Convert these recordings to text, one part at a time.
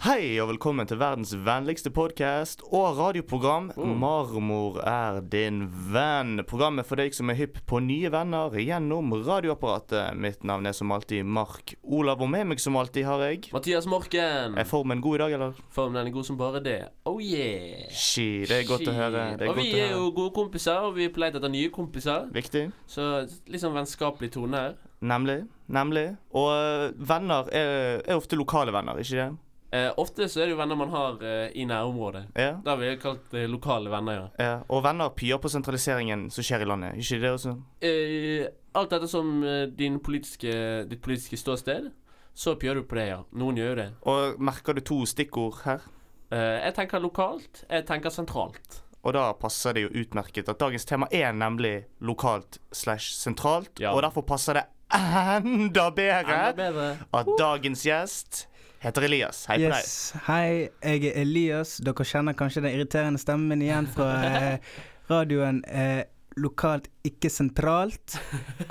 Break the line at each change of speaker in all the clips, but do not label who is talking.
Hei og velkommen til verdens vennligste podkast og radioprogram.
Mm.
Marmor er din venn. Programmet for deg som er hypp på nye venner gjennom radioapparatet. Mitt navn er som alltid Mark Olav, og med meg som alltid har jeg
Mathias Morken.
Er formen god i dag, eller?
Formen er god som bare det. Oh yeah.
Ski, det er godt å høre. Det er
og vi
godt å
er
høre.
jo gode kompiser, og vi er på leit etter nye kompiser.
Viktig.
Så litt sånn vennskapelig tone her.
Nemlig. Nemlig. Og øh, venner er, er ofte lokale venner, ikke det?
Eh, ofte så er det jo venner man har eh, i nærområdet.
Ja.
Det har vi kalt eh, lokale venner, ja.
ja. Og venner pyer på sentraliseringen som skjer i landet, ikke det også?
Eh, alt dette som eh, din politiske, ditt politiske ståsted, så pjør du på det, ja. Noen gjør jo det.
Og merker du to stikkord her?
Eh, jeg tenker lokalt, jeg tenker sentralt.
Og da passer det jo utmerket at dagens tema er nemlig lokalt slash sentralt.
Ja.
Og derfor passer det enda
Enda
bedre
bedre.
at dagens gjest heter Elias. Hei på deg.
Yes. Hei, jeg er Elias. Dere kjenner kanskje den irriterende stemmen min igjen fra eh, radioen eh, Lokalt, ikke sentralt,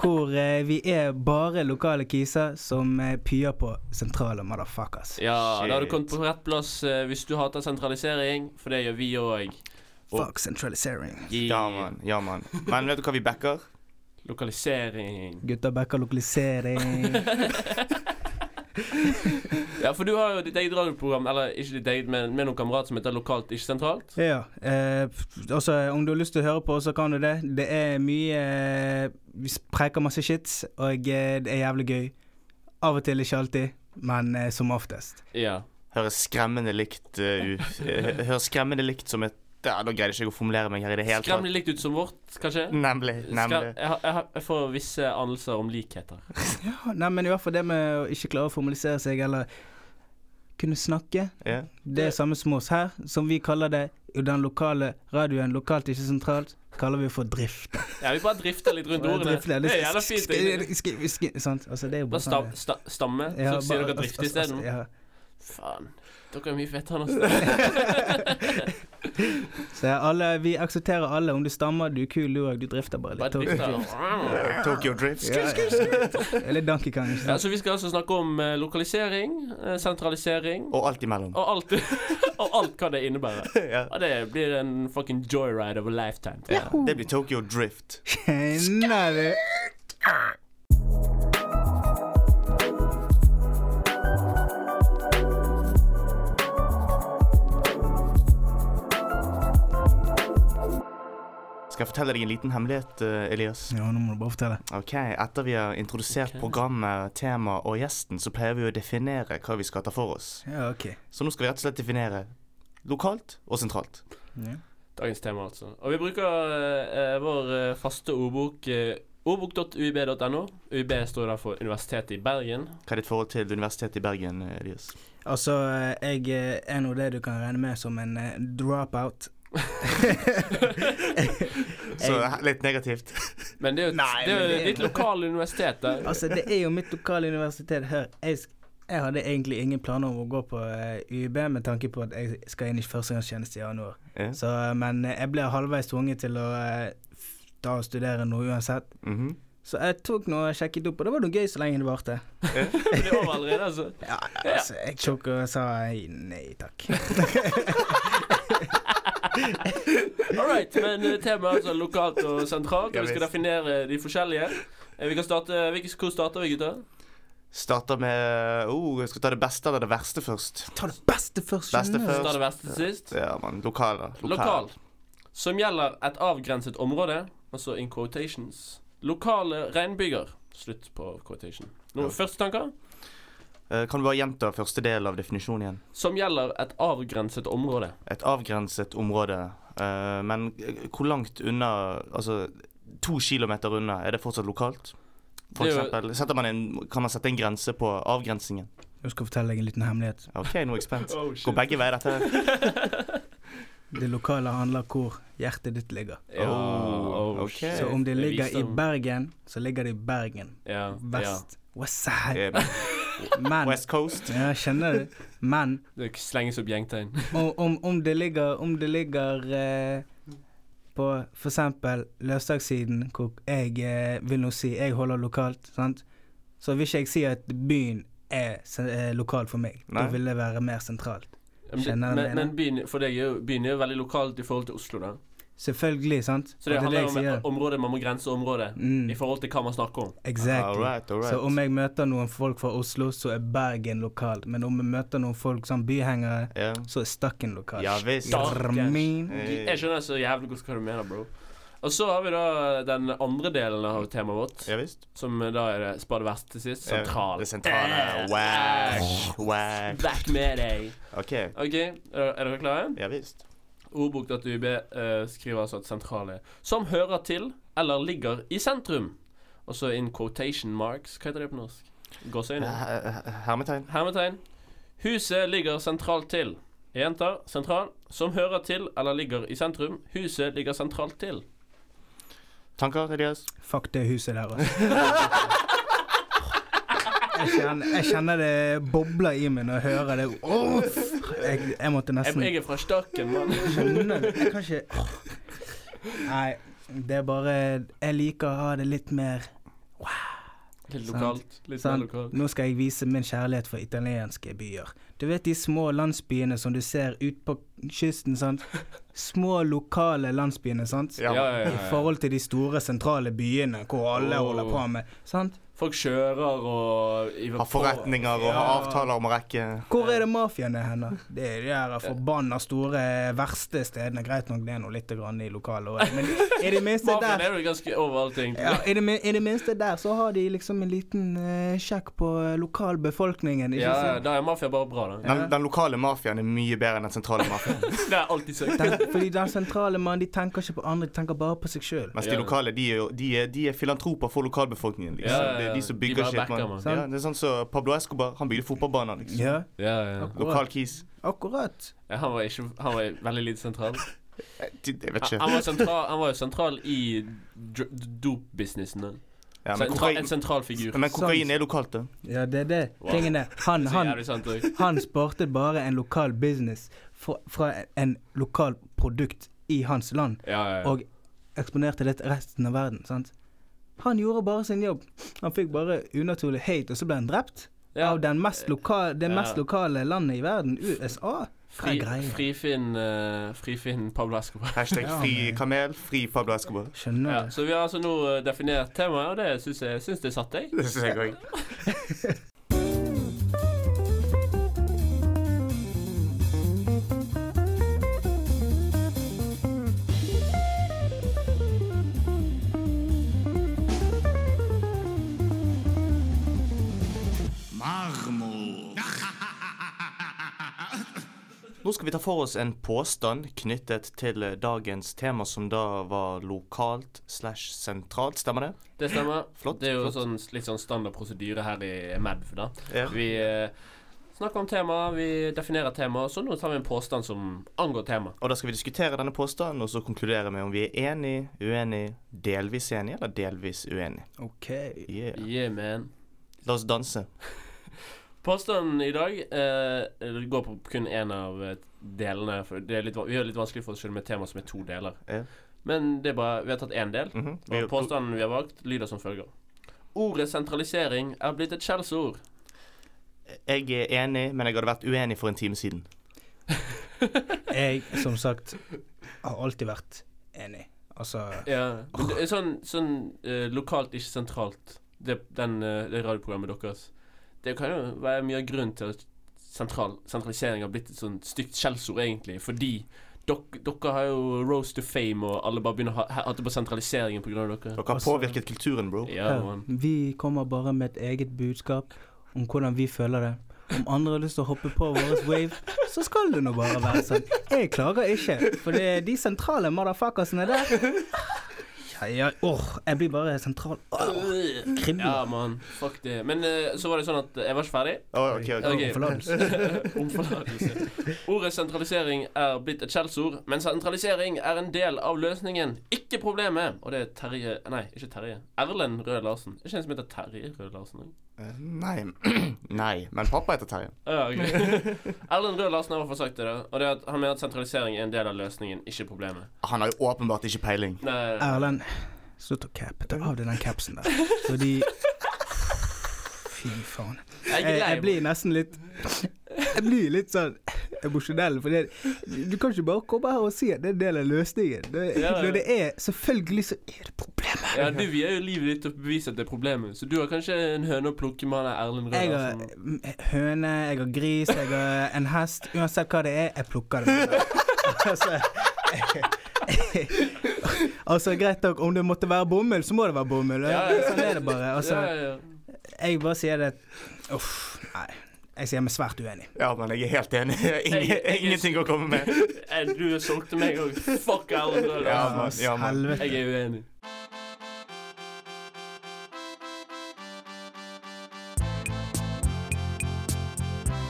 hvor eh, vi er bare lokale kiser som eh, pyer på sentrale motherfuckers.
Ja, da har du
Shit.
kommet på rett plass eh, hvis du hater sentralisering, for det gjør vi òg.
Fuck sentralisering.
Ja, mann. Ja, man. Men vet du hva vi backer?
Lokalisering.
Gutta backer lokalisering.
Ja, for du har jo ditt eget radioprogram, eller ikke ditt eget, men med noen kamerat som heter Lokalt, ikke sentralt.
Ja. Eh, f- altså, om du har lyst til å høre på, så kan du det. Det er mye eh, Vi preker masse shit, og eh, det er jævlig gøy. Av og til, ikke alltid, men eh, som oftest.
Ja.
Høres skremmende likt eh, ut. eh, Høres skremmende likt som et ja, Nå greide ikke jeg å formulere meg her i det hele tatt.
Skremmende likt ut som vårt, kanskje?
Nemlig.
Skrem,
Nemlig.
jeg, har- jeg, har- jeg får visse anelser om likheter.
Ja, nei, men i hvert fall det med å ikke klare å formalisere seg eller kunne snakke.
Ja.
Det er samme som oss her, som vi kaller det i den lokale radioen, lokalt, ikke sentralt, kaller vi for drift.
Ja, vi bare drifter litt rundt ordene.
Drift, ja,
Det er jævla fint. egentlig.
sk- sk- sk- sk- sant? Altså, det er jo
Bare
bare sånn
sta,
det er.
sta, stamme,
Ja,
så sier
bare-
dere drift
altså, altså,
isteden.
ja.
Faen. Dere er mye fetere enn oss.
Så ja, alle, vi aksepterer alle. Om du stammer, du er kul, du òg. Du drifter bare litt.
Bare drifter.
Tokyo Drift.
Ja, ja. Eller Donkey Kong. Ikke
Ja,
sant?
så vi skal altså snakke om eh, lokalisering, eh, sentralisering og,
Og alt imellom.
alt, og alt hva det innebærer.
Ja.
Og det blir en fucking joyride of a lifetime. tror jeg.
Ja. Det blir Tokyo Drift.
Kjenner du?
Skal jeg fortelle deg en liten hemmelighet, eh, Elias?
Ja, nå må du bare fortelle.
Ok, Etter vi har introdusert
Ok.
programmet, tema og gjesten, så pleier vi å definere hva vi skal ta for oss.
Ja, OK.
Så nå skal vi rett og slett definere lokalt og sentralt.
Ja.
Dagens tema, altså. Og vi bruker eh, eh, vår eh, faste ordbok. eh, Ordbok.uib.no. UiB står der for Universitetet i Bergen.
Hva er ditt forhold til Universitetet i Bergen, Elias?
Altså, eh, jeg eh, er nå det du kan regne med som en eh, dropout.
Så he- litt negativt.
Men det er jo,
Nei,
det er jo
men det er-
ditt lokale universitet der.
Altså, det er jo mitt lokale universitet her. Jeg, sk- jeg hadde egentlig ingen planer om å gå på eh, UiB med tanke på at jeg skal inn i førstegangstjeneste i januar.
Ja.
Så, eh, men eh, jeg ble halvveis tvunget til å eh, f- da å studere noe uansett.
Mhm.
Så jeg tok noe og sjekket opp, og det var noe gøy så lenge det varte.
Det er over allerede, altså.
Ja, altså, jeg tok og sa nei takk.
All right, men eh, temaet er altså lokalt og sentralt.
Ja,
Og vi skal
visst.
definere de forskjellige. Eh, Vi kan starte, hvilke- Hvor starter vi, gutter?
Starter med oh, jeg Skal ta det beste eller det verste først?
Ta det beste først.
Beste
skjønner du?
først.
Start det verste til sist.
Ja, man, lokal, da.
Lokal. Som gjelder et avgrenset område, altså in quotations. Lokale regnbyger. Slutt på quotation. Noen
Ja.
første tanker?
Eh, kan du bare gjenta første del av definisjonen igjen?
Som gjelder et avgrenset område.
Et avgrenset område. eh, men eh, hvor langt unna Altså to kilometer unna, er det fortsatt lokalt? For
Det er jo-
eksempel, setter man en, kan man sette en grense på avgrensingen?
Jeg skal fortelle deg en liten hemmelighet.
OK, nå er jeg spent.
Oh,
Går begge veier, dette her.
Det lokale handler hvor hjertet ditt ligger.
Ja,
Oh,
oh,
ok.
shit.
Så om det
Jeg
ligger i
visste om-
Bergen, så ligger det i Bergen.
ja, ja.
Vest. West side.
Eh,
Men
West Coast.
Ja, skjønner du? Men
Det slenges opp gjengtegn.
om, om, om det ligger, om det ligger eh, på for eksempel løsdagssiden, hvor jeg eh, vil nå si jeg holder lokalt, sant? så vil ikke jeg si at byen er sen- eh, lokal for meg. Da
Nei.
vil det være mer sentralt.
Ja, Men, det-
Kjenner den
men, men
ene.
byen, for deg er jo, byen er jo veldig lokalt i forhold til Oslo, da.
Selvfølgelig, sant?
Så det
Og
handler
jeg sier.
om området man må grense området i
Mm,
forhold til hva man snakker om.
All
exactly.
right, all
Så om
right.
jeg møter noen folk fra Oslo, så er Bergen lokal. Men om jeg møter noen folk som byhengere,
Ja.
så er Stakken lokal.
Ja visst.
Da-
Garmin.
Eh,
Jeg skjønner så jævlig godt hva du mener, bro. Og så har vi da den andre delen av temaet vårt,
Ja visst.
som da er det Spade Vest til sist.
Ja,
Sentral.
Det sentrale.
Eh.
Wack, wack.
Back med deg.
OK.
OK, er er dere klare?
Ja visst.
Ordbok.ub eh, skriver altså at sentrale som hører til eller ligger i sentrum. Og så in quotation marks. Hva heter det på norsk? Gåseøyne?
Eh, Hermetegn.
Hermetegn. Huset ligger sentralt til. Jeg gjentar sentral. Som hører til eller ligger i sentrum. Huset ligger sentralt til.
Tanker, Elias?
Fuck det huset der, altså. Jeg kjenner, jeg kjenner det bobler i meg når jeg hører det. Åh, jeg, jeg måtte
Jeg,
nesten
jeg er fra Stakken, mann.
skjønne det. Jeg kan ikke Åh. Nei, det er bare Jeg liker å ha det litt mer
Litt
Sant.
lokalt. Litt mer
Sant.
lokalt.
Nå skal jeg vise min kjærlighet for italienske byer. Du vet de små landsbyene som du ser ut på kysten, sant? Små lokale landsbyene, sant?
Ja.
Ja, ja, ja,
I
ja.
forhold til de store sentrale byene hvor alle
Oh.
holder på med, sant?
Folk kjører og i-
Har forretninger og har
Ja.
avtaler om å rekke
Hvor er det mafiaen er hen? da? Det er de der forbanna store, verste stedene. Greit nok, det er nå litt grann i lokalet òg, men i det minste
Mafiaen
der
er jo ganske overalt, egentlig.
ja, i, det, min- I det minste der så har de liksom en liten eh, sjekk på eh, lokalbefolkningen. ikke
Ja, ja,
sant?
da er mafia bare bra, da.
Den, den lokale mafiaen er mye bedre enn den sentrale mafiaen.
Det er alltid søkt.
Den, fordi den sentrale mannen, de tenker ikke på andre, de tenker bare på seg sjøl.
Mens
Ja.
de lokale de er, jo- de er, de er filantroper for lokalbefolkningen. Liksom.
Ja, ja, ja.
Det er de som
De
bygger
bare
shit.
backer,
Man.
man.
Ja, det er sånn som Pablo Escobar. Han bygde fotballbaner. Liksom.
Ja,
Ja, ja.
Lokal kis.
akkurat.
ja, han var ikke Han var veldig lite sentral.
Eh, de- Jeg vet
Han,
ikke.
han, var, sentral, han var jo sentral i dr- dop-businessene.
Ja, men,
Sentra- en
kokain,
sentral figur.
men kokain er lokalt, da.
Ja, det er det.
Wow.
Tingen er, han,
Så
han,
jævlig sant òg.
han sparte bare en lokal business fra, fra en lokal produkt i hans land,
Ja, ja, ja.
og eksponerte det til resten av verden, sant? Han gjorde bare sin jobb. Han fikk bare unaturlig hate, og så ble han drept
ja.
av den mest lokale, det
Ja.
mest lokale landet i verden, USA. Hva
Fri,
er greia?
frifinn eh, Frifinn Pablo Escobar.
Hashtag
Ja,
fri
men-
kamel, fri Pablo Escobar.
Skjønner
Ja,
du?
så vi har altså nå eh, definert temaet, og det syns jeg syns det satt deg.
Det synes jeg òg. Nå skal vi ta for oss en påstand knyttet til eh, dagens tema, som da var lokalt slash sentralt. Stemmer det?
Det stemmer.
Flott,
det er jo
flott.
sånn, litt sånn standard prosedyre her i MEDV, da.
Ja.
Vi eh, snakker om temaet, vi definerer temaet, så nå tar vi en påstand som angår temaet.
Og da skal vi diskutere denne påstanden, og så konkludere med om vi er enig, uenig, delvis enig eller delvis uenig.
OK.
Yeah.
Yeah, man.
La oss danse.
Påstanden i dag eh, går på kun én av eh, delene. For det er litt, va- vi gjør det litt vanskelig for oss selv med et tema som er to deler.
Ja.
Men det er bare, vi har tatt én del.
Mhm. Vi-
Og påstanden vi har valgt, lyder som følger. Ordet sentralisering er blitt et skjellsord.
Jeg er enig, men jeg hadde vært uenig for en time siden.
Jeg, som sagt, har alltid vært enig. Altså
Ja. Men det er sånn sånn eh, lokalt, ikke sentralt. Det, den, eh, det radioprogrammet deres. Det kan jo være mye av grunnen til at sentral, sentralisering har blitt et sånt stygt skjellsord, egentlig. Fordi dok, dere har jo Rose to fame, og alle bare begynner å ha- hate på sentraliseringen pga. dere.
Dere har
Altså-
påvirket kulturen, bro.
Ja,
Hør,
man.
Vi kommer bare med et eget budskap om hvordan vi føler det. Om andre har lyst til å hoppe på vår wave, så skal det nå bare være sånn. Jeg klager ikke, for det er de sentrale motherfuckersene der. ja, åh, jeg blir bare sentral. Åh, kribler.
Ja, mann. Fuck det. Men eh, så var det sånn at jeg var ikke ferdig.
Å, ok, ok.
Ok.
Åh, forlatelse.
Om forlatelse. Ordet sentralisering er blitt et skjellsord, men sentralisering er en del av løsningen, ikke problemet. Og det er Terje Nei, ikke Terje. Erlend Røe Larsen. Er ikke en som heter Terje Røe Larsen? også?
Eh, Nei. Nei. Men pappa heter Terje.
Ja, ok. Erlend Røe Larsen har i hvert fall sagt det, da. Og det er at han mener at sentralisering er en del av løsningen, ikke problemet.
Han har jo åpenbart ikke peiling.
Nei, nei, nei.
Erlend, slutt å cappe. Ta av deg den capsen der. Fordi Fy faen.
Jeg er
Jeg,
lei
jeg blir nesten litt Jeg blir litt sånn emosjonell, for det, du kan ikke bare komme her og si at det er en del av løsningen. Det,
Ja, ja.
Når det er Selvfølgelig så er det problemet.
Ja, du vil jo livet ditt til å bevise at det er problemet, så du har kanskje en høne å plukke med han der Erlend Røe
Jeg har
Larsen.
mm, høne, jeg har gris, jeg har en hest. Uansett hva det er, jeg plukker det. altså, eh, altså, greit nok, om det måtte være bomull, så må det være bomull.
Ja, ja.
Sånn er det bare. Altså,
Ja, ja, ja.
jeg bare sier det Uff, nei. Jeg sier meg svært uenig.
Ja, men jeg er helt enig. Ingen,
Jeg- jeg er-
ingenting å komme med.
Eh, Du solgte meg òg. Fuck Erlend Røe
Ja,
Larsen.
man, ja, man.
Helvete.
Jeg er uenig.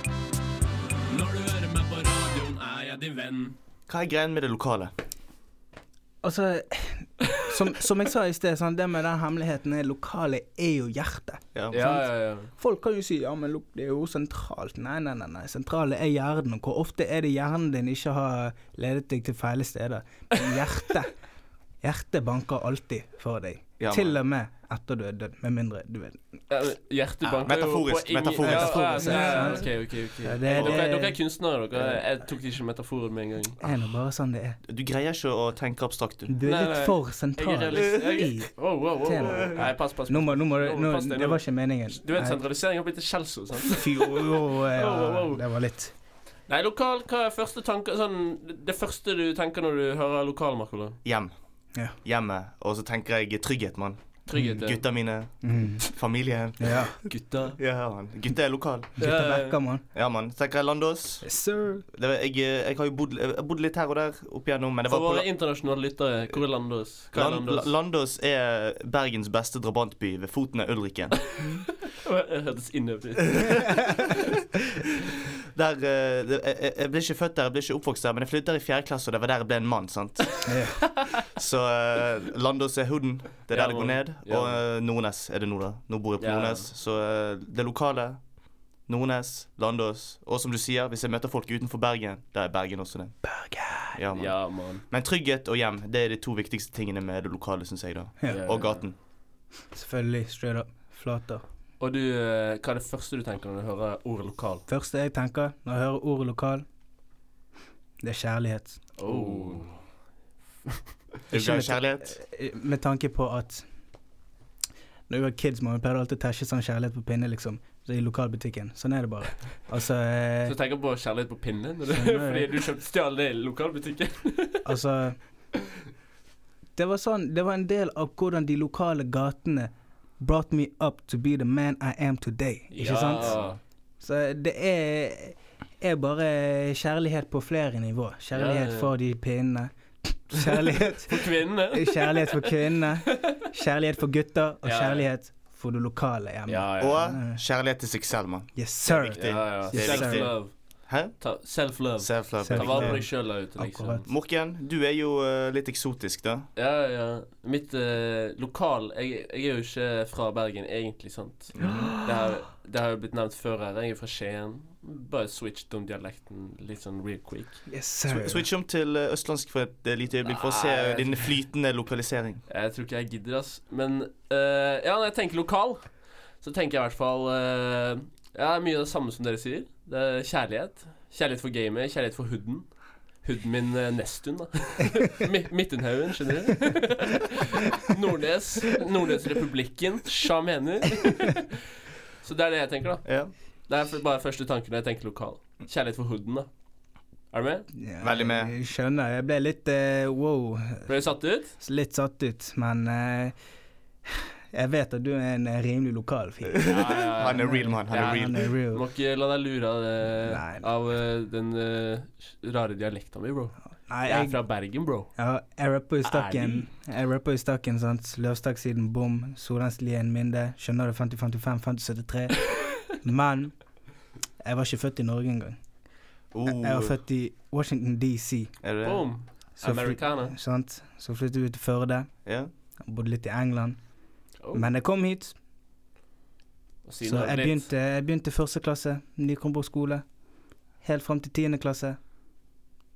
Når du hører meg på radioen, er jeg din venn.
Hva er greien med det lokale?
Altså, som, som jeg sa i sted, sånn, det med den hemmeligheten er lokalet er jo hjertet.
Ja.
Ja, ja, ja.
Folk kan jo si ja, men lok- det er jo sentralt. Nei, nei, nei. nei. Sentrale er hjernen. og Hvor ofte er det hjernen din ikke har ledet deg til feile steder? Men hjertet Hjertet banker alltid for deg.
Ja,
til
men-
og med etter du er død, med mindre du vet
Ja, men Hjertet banker jo
Metaforisk,
på ingen-
metaforisk.
Ja, ja, ja, ja.
Metaforisk,
OK, OK. ok
Ja, det-
Dere,
det- Ah.
dere er kunstnere, dere. Jeg tok ikke metaforen med en gang.
Det er nå bare sånn det er.
Du greier ikke å tenke abstrakt, du.
Du
Nei,
er
nei,
litt for
Jeg er
sentral.
realist. Jeg...
i-
Wow, wow, wow, wow.
Temaet.
Nei, pass, pass.
Nå må, nå må du
Nå må
nå,
pass deg, nå.
Det var ikke meningen.
Du vet
Nei.
sentralisering har blitt et skjellsord, sant?
Fy, jo, jo,
Wow, wow,
ja,
wow.
det var litt
Nei, lokal, hva er første tanker, sånn, det første du tenker når du hører lokal, Markolo?
Hjem.
Ja.
Hjemmet. Og så tenker jeg trygghet, mann.
Trygghet. ja.
Gutta mine.
mm,
Familie.
Ja.
Gutta.
Ja, mann. Gutta er lokal.
Gutta backer, mann.
Ja, mann. Tenker jeg Landås.
Eh, Yes, sir.
Det, var- jeg, eh, jeg har jo bodd, jeg har bodd litt her og der opp igjennom, men det var
For
på
våre internasjonale lyttere, hvor er Landås? Hva er
Land,
Landås?
Landås er Bergens beste drabantby ved foten av Ulriken.
Det Hørtes innøvd ut.
Der, eh, det- jeg, jeg ble ikke født der, jeg ble ikke oppvokst der, men jeg flyttet der i fjerde klasse, og det var der jeg ble en mann. sant?
Ja.
Så eh, Landås er hooden. Det er der
Ja,
det går
man.
ned.
Ja,
Og eh, Nordnes er det nå, da. Nå bor jeg på
Ja.
Nordnes. Så eh, det lokale Nordnes, Landås. Og som du sier, hvis jeg møter folk utenfor Bergen, da er Bergen også det. Bergen. Ja, man.
Ja, mann.
Men trygghet og hjem, det er de to viktigste tingene med det lokale, syns jeg, da.
Ja.
Og gaten.
Selvfølgelig. Straight up. Flater.
Og du, eh, hva er det første du tenker når du hører ordet lokal?
Første jeg tenker når jeg hører ordet lokal, det er kjærlighet.
Oh.
Er Du
Ikke
glad i
litt-
kjærlighet?
Eh, Med tanke på at når vi var kids, man pleide alltid å tæsje sånn kjærlighet på pinne, liksom. Så I lokalbutikken. Sånn er det bare. Altså,
Så
eh,
du tenker på kjærlighet på pinne? Når du,
Skjønner
fordi
jeg.
du kjøpte stjal det i lokalbutikken?
altså Det var sånn Det var en del av hvordan de lokale gatene brought me up to be the man I am today. Ikke sant? Så det er, er bare kjærlighet på flere nivå.
Ja, ja.
Kjærlighet for de pinnene. Kjærlighet
For kvinnene?
Kjærlighet for kvinnene, kjærlighet for gutter, og
Ja, ja.
kjærlighet for det lokale hjemme.
Ja, ja.
Og kjærlighet til seg selv, mann.
Yes, sir.
viktig.
ja, ja.
Det er viktig.
Self-love.
Hæ?
Ta- Self-love.
Self-love.
Ta
er
Self-love.
vare på
viktig.
deg sjøl der ute, liksom.
Akkurat.
Morken, du er jo eh, litt eksotisk, da.
Ja, ja. Mitt eh, lokal jeg, jeg er jo ikke fra Bergen, egentlig, sant. Det har, det har jo blitt nevnt før her. Jeg er fra Skien. Bare switched om dialekten litt sånn real quick.
Yes,
Sw-
sir.
Switch om til eh, østlandsk for et eh, lite øyeblikk, for å se
Nei.
din flytende lokalisering.
Jeg tror ikke jeg gidder, ass. Men eh, ja, når jeg tenker lokal, så tenker jeg i hvert fall eh, Ja, mye av det samme som dere sier. Det er kjærlighet. Kjærlighet for gamet, kjærlighet for hooden. Hooden min uh, Nestun, da. Mi- Midtunhaugen, skjønner du. Nordnes. Nordnesrepublikken. Sja mener. så det er det jeg tenker, da.
Ja.
Det er f- bare første tanken når jeg tenker lokal. Kjærlighet for hooden, da. Er du med?
Ja,
Veldig med.
Jeg skjønner. Jeg ble litt eh, wow.
Ble du satt ut?
Litt satt ut, men eh, jeg vet at du er en eh, rimelig lokal fyr.
Ja, ja, ja.
Han er real, mann. Han er
Eh, Ja,
real.
Han er
Du
real.
må ikke la deg lure eh, av, det,
Nei, nei.
av eh, den eh, rare dialekten min, bro.
Nei,
Jeg er
jeg,
fra Bergen, bro.
ja, jeg rapper jo stakken.
Ærlig.
Jeg rapper jo stakken, sant. Løvstakk siden bom. Solanslien minde. Skjønner du 50-55, 50-73. Men jeg var ikke født i Norge engang. Jeg, jeg var
Oh,
født i Washington DC.
er det det?
Boom.
Så, fly,
Americana.
sant? så flyttet vi til Førde.
Ja.
Bodde litt i England.
Oh.
Men jeg kom hit,
Og siden
så
har
jeg
det blitt-
begynte, jeg begynte første klasse. Nykombo skole. Helt fram til tiende klasse.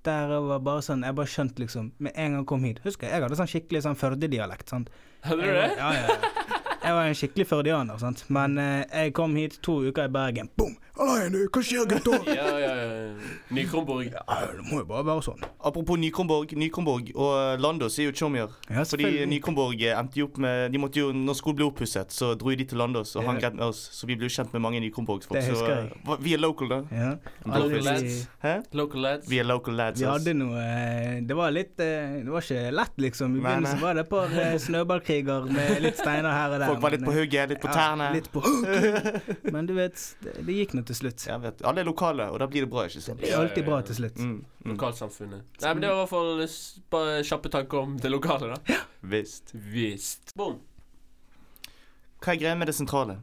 Der jeg var bare sånn, jeg bare skjønte liksom Med en gang jeg kom hit Husker jeg, jeg hadde sånn skikkelig sånn Førde-dialekt. sant?
Hadde
Jeg
du
var-
det?
Ja, ja, ja. Jeg var en skikkelig førdianer, sant. Men eh, jeg kom hit to uker i Bergen. Boom! Halla igjen, du! Hva skjer, gutter?
Ja, ja, ja. Nykomborg.
Ja, det må jo bare være sånn.
Apropos Nykomborg. Nykomborg og eh, Landås er jo tjommier.
Ja,
Fordi
selvfølgelig.
Nykomborg eh, endte jo opp med De måtte jo, når skolen ble oppusset, så dro jo de til Landås og hang
Ja.
rett med oss. Så vi ble jo kjent med mange Nykomborgsfolk.
Det
Så
husker jeg.
eh, hva- vi er local, da.
Ja.
Local
Aldri-
lads.
Hæ?
Local lads.
Vi er local lads.
Vi
ass.
hadde noe eh, Det var litt eh, Det var ikke lett, liksom. I
Nei, nei.
begynnelsen var det et par eh, snøballkriger med litt steiner her og der.
Folk var litt
men,
på
eh,
hugget, litt på
ja,
tærne.
litt på hugget. Men du vet, det, det gikk nå til slutt.
Jeg vet, Alle er lokale, og da blir det bra, ikke
Det
sant?
blir
Ja,
alltid
ja,
bra
ja.
til slutt.
Mm, mm.
Lokalsamfunnet. Nei, men det var i hvert fall s- bare kjappe tanker om det lokale, da.
Visst.
Visst. Boom.
Hva er greia med det sentrale?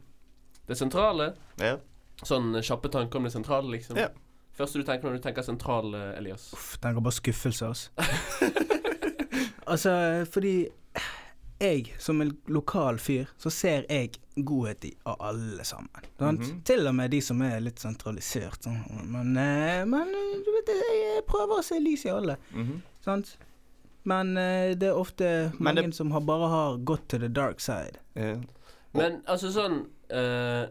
Det sentrale.
Ja.
Sånn eh, kjappe tanker om det sentrale, liksom.
Ja.
Første du tenker når du tenker sentral, eh, Elias.
Uff, den ga bare skuffelse, altså. altså, fordi jeg, som en lokal fyr, så ser jeg godhet i av alle sammen. Sant?
Mhm.
Til og med de som er litt sentralisert. Sånn. Men, eh, men eh, du vet, jeg prøver å se lys i alle.
Mhm.
Sant? Men eh, det er ofte
Men
mange
det-
som har bare har gått til the dark side.
ja.
Men altså sånn eh,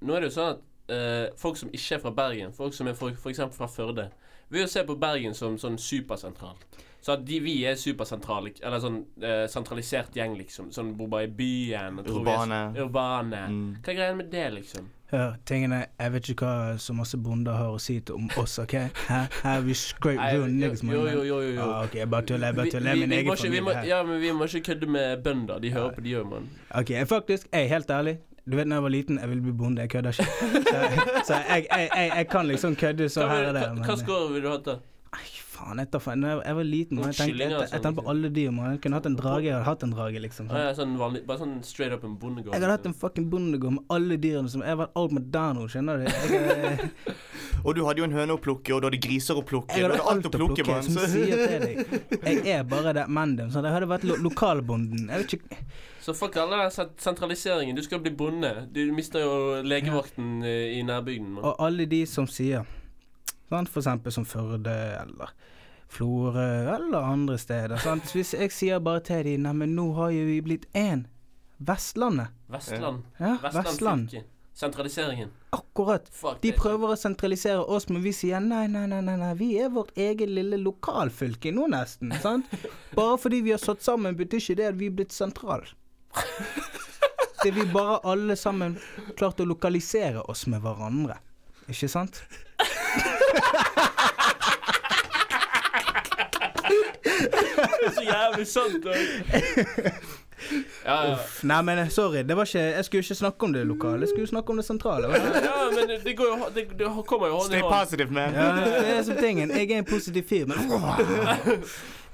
Nå er det jo sånn at eh, folk som ikke er fra Bergen, folk som er for, for eksempel fra Førde, vil jo se på Bergen som sånn supersentral. Så at de vi er supersentrale, eller sånn eh, sentralisert gjeng, liksom. Sånn bor bare i byen. og tror vi er så-
Urbane.
Urbane.
Mm.
Hva er greia med det, liksom?
Hør, tingene, Jeg vet ikke hva så masse bonder har å si til om oss, OK? Her, her vi scrape
Nei,
real niggas, man.
jo, jo, jo, jo, jo.
Ah, ok, jeg bare tuller. Jeg bare
Vi-
tuller. Jeg
vi-
er min
vi må
egen
ikke- vi
familie
må-
her.
Ja, men vi må ikke kødde med bønder. De hører på de òg, mann.
Ok, jeg faktisk, jeg er helt ærlig. Du vet når jeg var liten, jeg ville bli bonde. Jeg kødder ikke. Så, så jeg, jeg, jeg, jeg kan liksom kødde så
Hva
her
vil-
og der.
hva-
men-
Hva score vil du ha til?
Nei, faen, jeg tar faen. Når jeg, jeg var liten, man, jeg tenkte,
Kyllinger og
jeg, jeg
sånn,
tenkte på alle dyr. Man. Jeg kunne hatt en drage. Jeg hadde hatt en drage, liksom.
Ah, ja, sånn vanlig, bare sånn straight up en bondegård.
Jeg hadde hatt en fucking bondegård med alle dyrene som Jeg har vært alt med Dano, skjønner du? Jeg,
Og du hadde jo en høne å plukke, og du hadde griser å plukke.
jeg
Du
hadde
hadde alt å plukke, mann.
som
så-
sier til deg. Jeg er bare det mandem. Sånn. Jeg hadde vært lo lokalbonden. Jeg vet ikke
Så fuck alle den sent- sentraliseringen. Du skal bli bonde. Du mister jo legevakten eh, i nærbygden. mann.
Og alle de som sier sant? For eksempel som Førde eller Florø eller andre steder. Sant? Hvis jeg sier bare til de Neimen, nå har jo vi blitt én. Vestlandet.
Vestland.
Ja,
Vestland,
Vestland.
fylke. Sentraliseringen.
Akkurat.
Fuck.
De
det-
prøver å sentralisere oss, men vi sier nei, nei, nei, nei, nei. vi er vårt eget lille lokalfylke nå nesten. sant? Bare fordi vi har satt sammen, betyr ikke det at vi er blitt sentral. Det er vi bare alle sammen klart å lokalisere oss med hverandre. Ikke sant?
Det er så jævlig sant. Og... Ja, ja.
Nei, men eh, sorry, det var ikke, jeg skulle ikke snakke om det lokale, jeg skulle snakke om det sentrale. hva?
ja, men det- det, går jo, det, det kommer jo hånd i
Stay
hånd.
positive, man.
Ja, det er som tingen. Jeg er en positiv fyr, men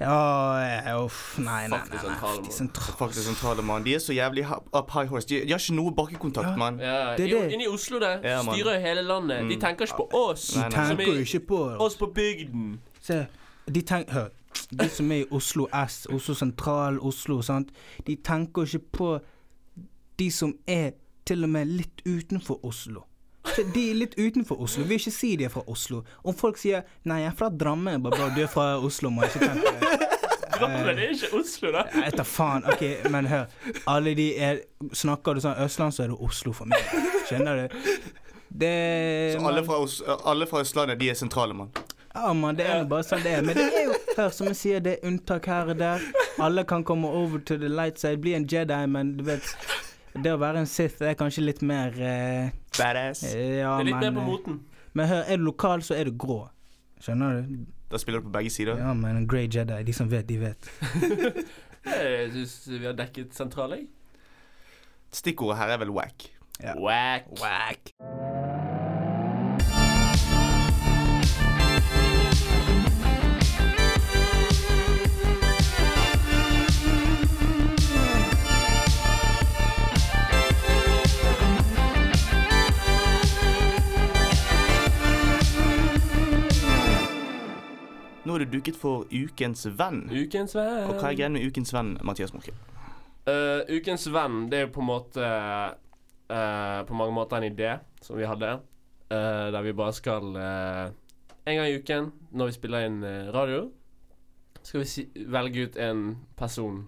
Ja, eh, uff, nei, nei,
Fuck de
nei.
sentrale,
nei. De
mann.
sentrale.
Fuck det sentrale, mann. De er så jævlig ha- up high horse. De, de har ikke noe bakkekontakt, mann.
Ja,
Det er
jo,
det.
Inne i Oslo der
Ja, mann. Mm.
styrer jo hele landet. De tenker ikke på oss.
Nei,
De
nei.
Som
tenker
i-
jo ikke på det.
Oss på bygden.
Se, de tenker Hør. De som er i Oslo S, Oslo sentral, Oslo, sant. De tenker jo ikke på de som er til og med litt utenfor Oslo. Så De er litt utenfor Oslo. Vil ikke si de er fra Oslo. Om folk sier 'nei, jeg er fra Drammen', jeg bare bra, du er fra Oslo, må jeg ikke tenke på det.
Drammen er ikke Oslo, da.
Jeg vet da faen. Ok, men hør. Alle de er Snakker du sånn Østland, så er det Oslo for meg. Skjønner du? Det
Så alle fra, Os- alle fra Østlandet, de er sentrale, mann.
Ja, man, det er jo bare sånn det er. Men det er jo Hør, som jeg sier, det er unntak her og der. Alle kan komme over to the light side, bli en Jedi, men du vet Det å være en Sith er kanskje litt mer eh,
Badass.
Ja,
Det er litt mer
men
på
eh,
moten.
Men hør, er du lokal, så er du grå. Skjønner du?
Da spiller du på begge sider.
Ja, men en grey Jedi. De som vet, de vet.
Jeg syns vi har dekket sentralen. jeg.
Stikkordet her er vel wack.
Ja.
Wack.
Wack.
Nå er det duket for Ukens venn.
Ukens venn.
Og hva er greia med Ukens venn, Mathias Morke?
Eh, ukens venn, det er jo på en måte eh, På mange måter en idé som vi hadde. eh, der vi bare skal eh, En gang i uken, når vi spiller inn eh, radio, skal vi si, velge ut en person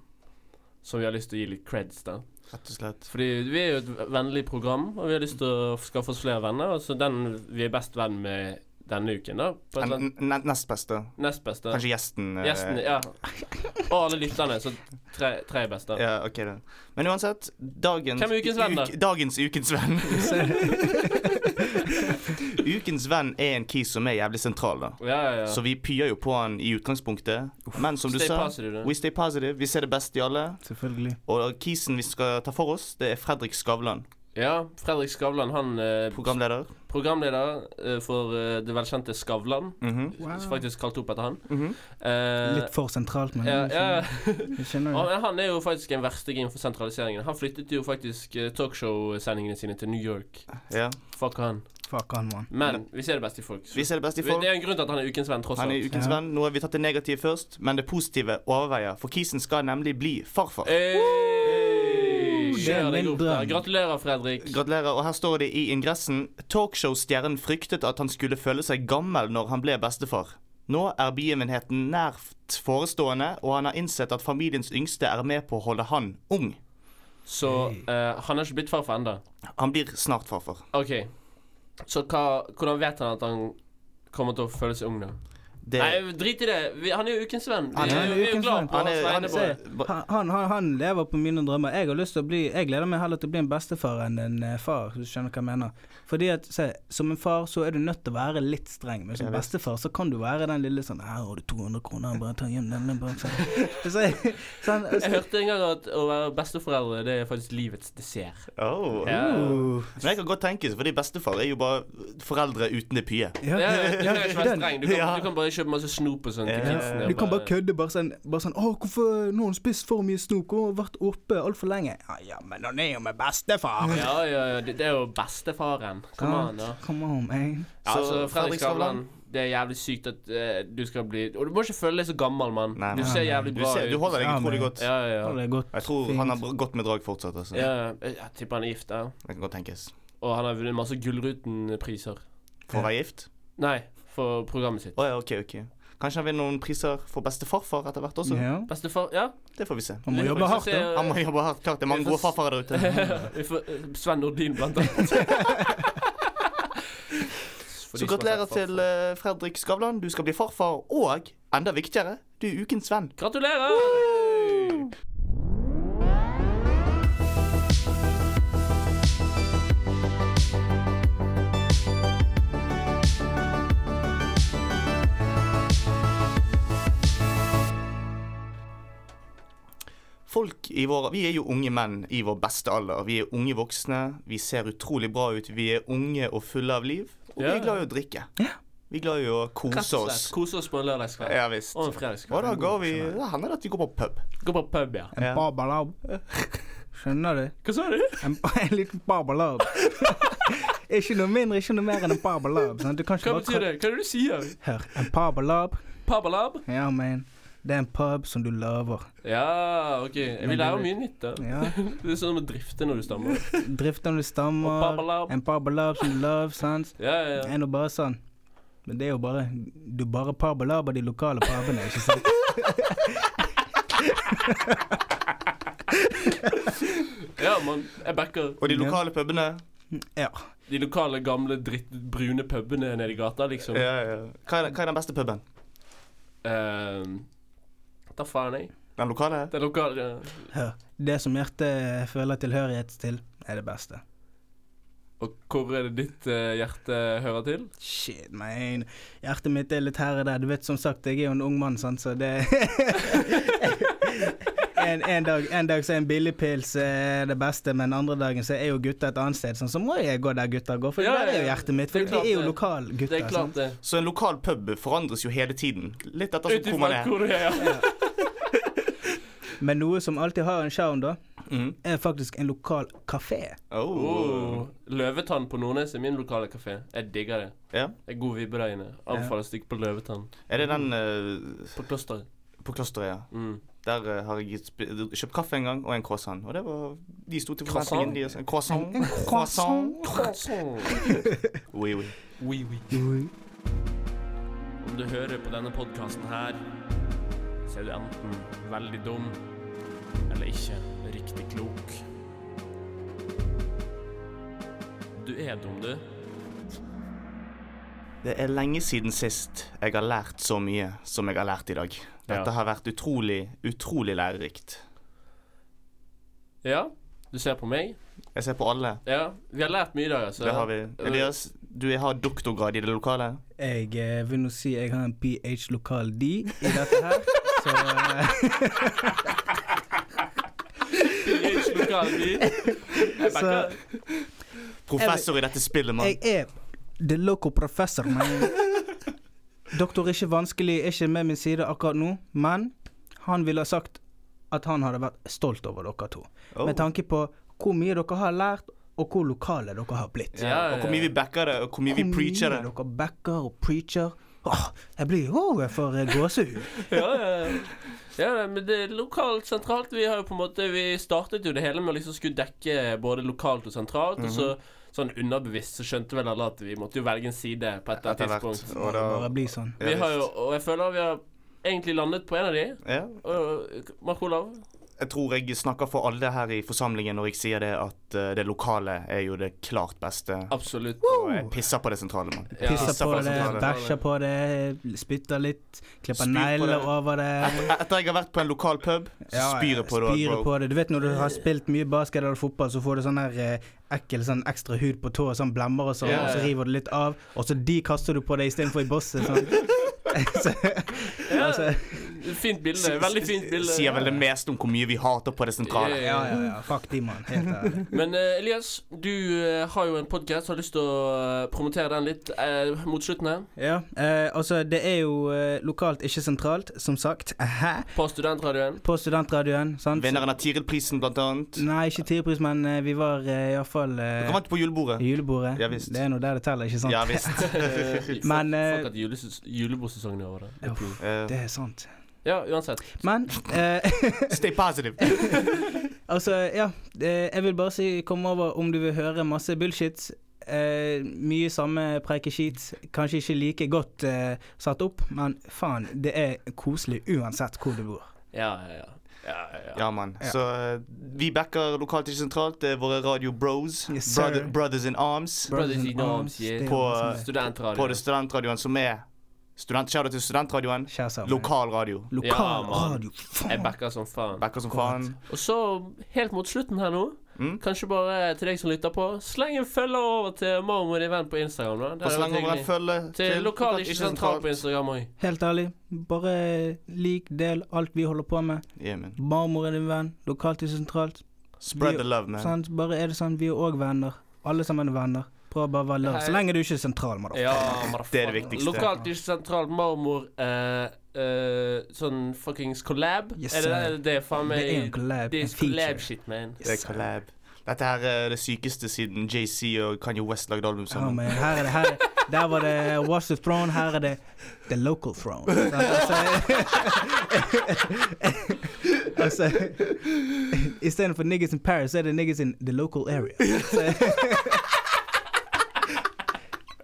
som vi har lyst til å gi litt creds til.
Rett og slett.
Fordi vi er jo et vennlig program, og vi har lyst til å skaffe oss flere venner. Og så den vi er best venn med denne uken, da. På et eller annet
Nest beste.
nest beste.
Kanskje gjesten. eh,
Gjesten, ja. Og alle lytterne. Så tre, tre er best, da.
Ja, ok da. Men uansett, dagens
Hvem er ukens venn, da?
uk- dagens ukens venn. ukens venn er en key som er jævlig sentral, da.
Ja, ja, ja.
Så vi pyer jo på han i utgangspunktet. Men som du
Stay
sa,
positive, da.
we stay positive. Vi ser det beste i alle.
Selvfølgelig.
Og kisen vi skal ta for oss, det er Fredrik Skavlan,
Ja, Fredrik Skavlan, han eh,
programleder.
programleder eh, for eh, det velkjente Skavlan.
Mhm.
Wow.
Som Faktisk kalt opp etter han.
Mhm.
Eh,
Litt for sentralt, men
ja, ja.
jeg skjønner
Han,
jo.
han er jo faktisk en versting innenfor sentraliseringen. Han flyttet jo faktisk eh, talkshow-sendingene sine til New York.
Ja.
Fuck han.
Fuck han, mann.
Men vi ser det beste i folk. så-
Vi ser det beste i
Det
folk.
er en grunn til at han er ukens venn, tross
Han
alt.
er ukens
Ja.
venn. Nå har vi tatt det negative først, men det positive overveier. For kisen skal nemlig bli farfar.
Eh. Hey!
Det er
Kjør deg
min
opp der.
drøm.
Gratulerer, Fredrik.
Gratulerer. Og her står det i ingressen Talkshow-stjernen fryktet at han skulle føle seg gammel når han ble bestefar. Nå er begivenheten nært forestående, og han har innsett at familiens yngste er med på å holde han ung.
Så eh, han har ikke blitt farfar ennå.
Han blir snart farfar.
OK. Så hva, hvordan vet han at han kommer til å føle seg ung, da?
Det,
Nei, drit i det. Vi, han er jo ukens venn. Vi
Han er
er jo vi er jo
ukens
glad
venn.
på
han
hans
er, han
vegne.
er,
bare.
ba-
Han, han, han lever på mine drømmer. Jeg har lyst til å bli Jeg gleder meg heller til å bli en bestefar enn en eh, far, hvis du skjønner hva jeg mener. Fordi at, se, som en far så er du nødt til å være litt streng, men som
Jeg vet.
bestefar så kan du være den lille sånn 'Her har du 200 kroner, bare ta hjem den.' den bare, så. Så, sånn,
Jeg hørte en gang at å være besteforeldre, det er faktisk livets dessert.
oh.
Ja.
Men jeg kan godt tenke det, fordi bestefar er jo bare foreldre uten det pye.
ja,
Ja, ja, du trenger ikke være
den-
streng. Du kan,
Ja.
du kan bare kjøpe masse snop og sånn til
Ja.
kidsen.
Du kan bare kødde. Bare sånn, bare sånn 'Å, hvorfor nå har hun spist for mye snop og vært oppe altfor lenge?' Ja, ja, men han er jo med bestefar.
Ja, ja, ja. Det, det er jo bestefaren. Kom an, da.
Come on, man.
Ja,
Så,
altså, Fredrik
Fredrik Skavlan.
Skavlan, det er jævlig sykt at eh, du skal bli Og du må ikke føle deg så gammel, mann.
Nei,
Du
nei,
ser
nei.
jævlig
Du,
bra
ser, du
ut.
holder deg
Ja,
utrolig
men-
godt.
Ja, ja.
Ha det godt.
Jeg tror han har br- godt med drag fortsatt. Altså.
ja. Jeg jeg tipper han er gift, ja.
Det kan godt tenkes.
Og han har vunnet masse Gullruten-priser.
For å være gift?
Nei, for programmet sitt.
Å ja, ok, ok. Kanskje han vinner noen priser for bestefarfar etter hvert også?
Ja.
Bestefar Ja.
Det får vi se.
Han må
vi
jobbe
får
hardt,
se,
da.
eh,
Han må jobbe hardt. Klart det er mange gode farfarer der ute.
Vi får- Sven Nordin, blant annet. For de
Så
som har
gratulerer
sett farfar.
til eh, Fredrik Skavlan. Du skal bli farfar, og enda viktigere, du er ukens venn.
Gratulerer!
Folk i vår, Vi er jo unge menn i vår beste alder. Vi er unge voksne. Vi ser utrolig bra ut. Vi er unge og fulle av liv. Og vi
Ja.
er glad i å drikke. Vi er glad i å
Rett
kose
og
oss.
slett. Kose oss på en lørdagskveld.
Ja visst.
Og en
Og
fredagskveld.
da går vi Da hender det at vi går på pub.
Gå på pub, ja.
En
Ja.
babalab. Skjønner du?
Hva sa du?
En, en liten babalab. ikke noe mindre, ikke noe mer enn en babalab. Sant? Du kan
Hva
ikke bare
betyr det? Hva er det du sier?
Hør, en babalab,
Pabalab?
ja, man. Det er en pub som du lover.
Ja, OK. Vi
Men
lærer
det-
mye nytt, da.
Ja.
Det er sånn å drifte når du stammer.
Drift om du stammer.
Og babalab.
En babalab som du lover, sant.
Ja, ja,
Det
ja.
er nå bare sånn. Men det er jo bare Du bare babalaber de lokale pubene, ikke sant?
ja mann. Jeg backer
Og de lokale pubene
Ja.
de lokale, gamle, drittbrune pubene nede i gata, liksom.
ja, ja. eh, Hva, er, hva er den beste puben?
Ehm, da faen, jeg.
Den lokale?
Det er eh, lokale
Hør. Det som hjertet føler tilhørighet til, er det beste.
Og hvor er det ditt eh, hjerte hører til?
Shit, man. Hjertet mitt er litt her og der. Du vet, som sagt, jeg er jo en ung mann, sant, så det en, en, dag, en dag så er en billigpils eh, det beste, men andre dagen så er jo gutta et annet sted. Sånn, så må jeg gå der gutta går, for
Ja,
der er jo
ja, ja.
hjertet mitt.
Det
For
er
de
klart
er jo
det.
lokalgutter.
Det er klart,
sant?
det.
Så en lokal pub forandres jo hele tiden. Litt etter
Ut
som hvor man
ifra
er.
hvor du er, ja.
Men noe som alltid har en sjarm, da,
Mm.
er faktisk en lokal kafé.
Oh.
Oh. Løvetann på Nordnes er min lokale kafé. Jeg digger det.
Ja.
Det er god vibbereine. Anbefaler å stikke på Løvetann.
Er det den eh,
På klosteret.
på klosteret, ja?
Mm.
Der eh, har jeg sp- kjøpt kaffe en gang, og en croissant. Og det var De sto til
Croissant?
forventningene deres. En croissant.
En croissant.
Oui, oui.
Oui, oui.
Oi.
Om du hører på denne podkasten her, så er du enten veldig dum eller ikke riktig klok. Du er dum, du.
Det er lenge siden sist jeg har lært så mye som jeg har lært i dag. Dette
Ja.
har vært utrolig, utrolig lærerikt.
Ja, du ser på meg.
Jeg ser på alle.
Ja, vi har lært mye i dag, altså.
Det har vi. Elias, du har doktorgrad i det lokale.
Jeg eh, vil nå si jeg har en ph lokal D i dette her. Så eh,
Ikke lokal by. Jeg
Så-
backer.
Professor i dette spillet, mann.
jeg er the local professor, men Doktor er ikke vanskelig, er ikke med min side akkurat nå, men han ville ha sagt at han hadde vært stolt over dere to.
Oh.
Med tanke på hvor mye dere har lært, og hvor lokale dere har blitt.
Ja, og hvor mye vi backer det, og hvor mye vi
Hvor mye
preacher det.
Dere backer og preacher. Åh, jeg blir rå for eh, gåsehud.
ja, ja, ja. ja, nei, men det er lokalt, sentralt Vi har jo på en måte Vi startet jo det hele med å liksom skulle dekke både lokalt og sentralt, og
Mhm.
så sånn underbevisst så skjønte vel alle at vi måtte jo velge en side på et eller
Etter
annet
hvert.
tidspunkt.
Og da
Bare bli sånn.
Ja,
Vi har jo,
visst.
og jeg føler vi har egentlig landet på en av de.
ja.
Og Mark Olav.
Jeg tror jeg snakker for alle her i forsamlingen når jeg sier det at eh, det lokale er jo det klart beste.
Absolutt.
Og jeg pisser på det sentrale, mann.
Ja.
Pisser
Pisser
på
på
det,
sentralen.
bæsjer på det, spytter litt, klipper
Spyr på
negler
det.
over det.
Etter jeg har vært på en lokal pub, så
Ja,
spyr jeg på det.
spyrer
bro.
på det. Du vet når du har spilt mye basket eller fotball, så får du sånn her eh, ekkel sånn ekstra hud på tå og sånn blemmer og sånn,
Ja,
og så
ja.
river du litt av, og så de kaster du på deg istedenfor i bosset. Sånn. så,
Ja,
altså,
fint bilde. Veldig fint bilde.
Sier vel det mest om hvor mye vi hater på det sentrale.
Ja,
ja, ja, ja. Fuck de, mann. Helt ærlig.
Men eh, Elias, du eh, har jo en podkast. Har lyst til å eh, promotere den litt eh, mot slutten her.
Ja, eh, altså, det er jo eh, lokalt, ikke sentralt, som sagt. Hæ?
På studentradioen.
På studentradioen, sant?
Vinneren av Tiril-prisen, blant annet.
Nei, ikke tidpris, men eh, vi var eh, iallfall
Dere
eh,
vant på julebordet.
i julebordet.
Ja, visst.
Det er nå der det teller, ikke sant?
Ja visst.
Eh,
Men, eh,
Fuck at juleses- julebordsesongen er over. da. Det er
Uff.
cool.
Eh,
Det er sant.
Ja, uansett.
Men eh,
stay positive.
altså, ja. eh, Jeg vil bare si kom over om du vil høre masse bullshit. Eh, mye samme preikeskit. Kanskje ikke like godt eh, satt opp, men faen, det er koselig uansett hvor du bor.
Ja, ja, ja. ja, ja, ja.
Ja, mann.
Ja.
Så eh, vi backer lokalt ikke sentralt. Det er våre Radio Bros.
Yes, sir.
Brother, brothers in Arms.
Brothers in arms, yeah.
det er
På, eh,
masse mer.
På
Studentradioen.
det studentradioen som er student, Shout out til studentradioen.
Kjære sammen.
Lokal radio.
Lokal
Ja, mann.
radio.
Jeg
Faen.
backer som faen.
Backer som faen.
Og så, helt mot slutten her nå,
Mm.
kanskje bare til deg som lytter på, sleng en følger over til Marmor Event på Instagram. da.
Og
Det hadde
så
vært
lenge man
hyggelig.
følger
Til lokal ikke sentralt på Instagram òg.
Helt ærlig, bare lik, del alt vi holder på med.
Yeah, man.
Marmor er din venn, lokalt til sentralt.
Spread
Vi-
the love, man.
Sant? Bare er det sånn, vi er òg venner. Alle sammen er venner. Prøv bare å være lørdag. Så lenge du ikke er sentral, mann.
Ja, motherfucker.
Det er det viktigste.
Lokalt ikke sentralt Marmor eh, eh, Sånn fuckings collab.
Yes,
er det
sir.
det, det er faen
Det
meg
er en collab,
Det
en
er collab
feature.
shit, man.
Det er collab. Dette her er det sykeste siden JC og Kanye West lagde album
Ja,
sammen.
men her er det, her er, der var det Watch the Throne, her er det The Local Throne. Sant? Altså, altså Istedenfor niggas in Paris, så er det niggas in the local area.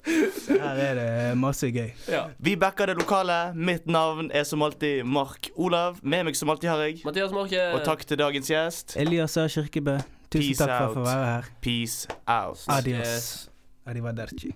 Så, så her er det masse gøy.
Ja.
Vi backer det lokale. Mitt navn er som alltid Mark Olav. Med meg som alltid har jeg.
Mathias Marke.
Og takk til dagens gjest.
Elias Sør Kirkebø, tusen
Peace
takk for at jeg får
out.
være her.
Peace out.
Adios.
Yes.
Arrivederci.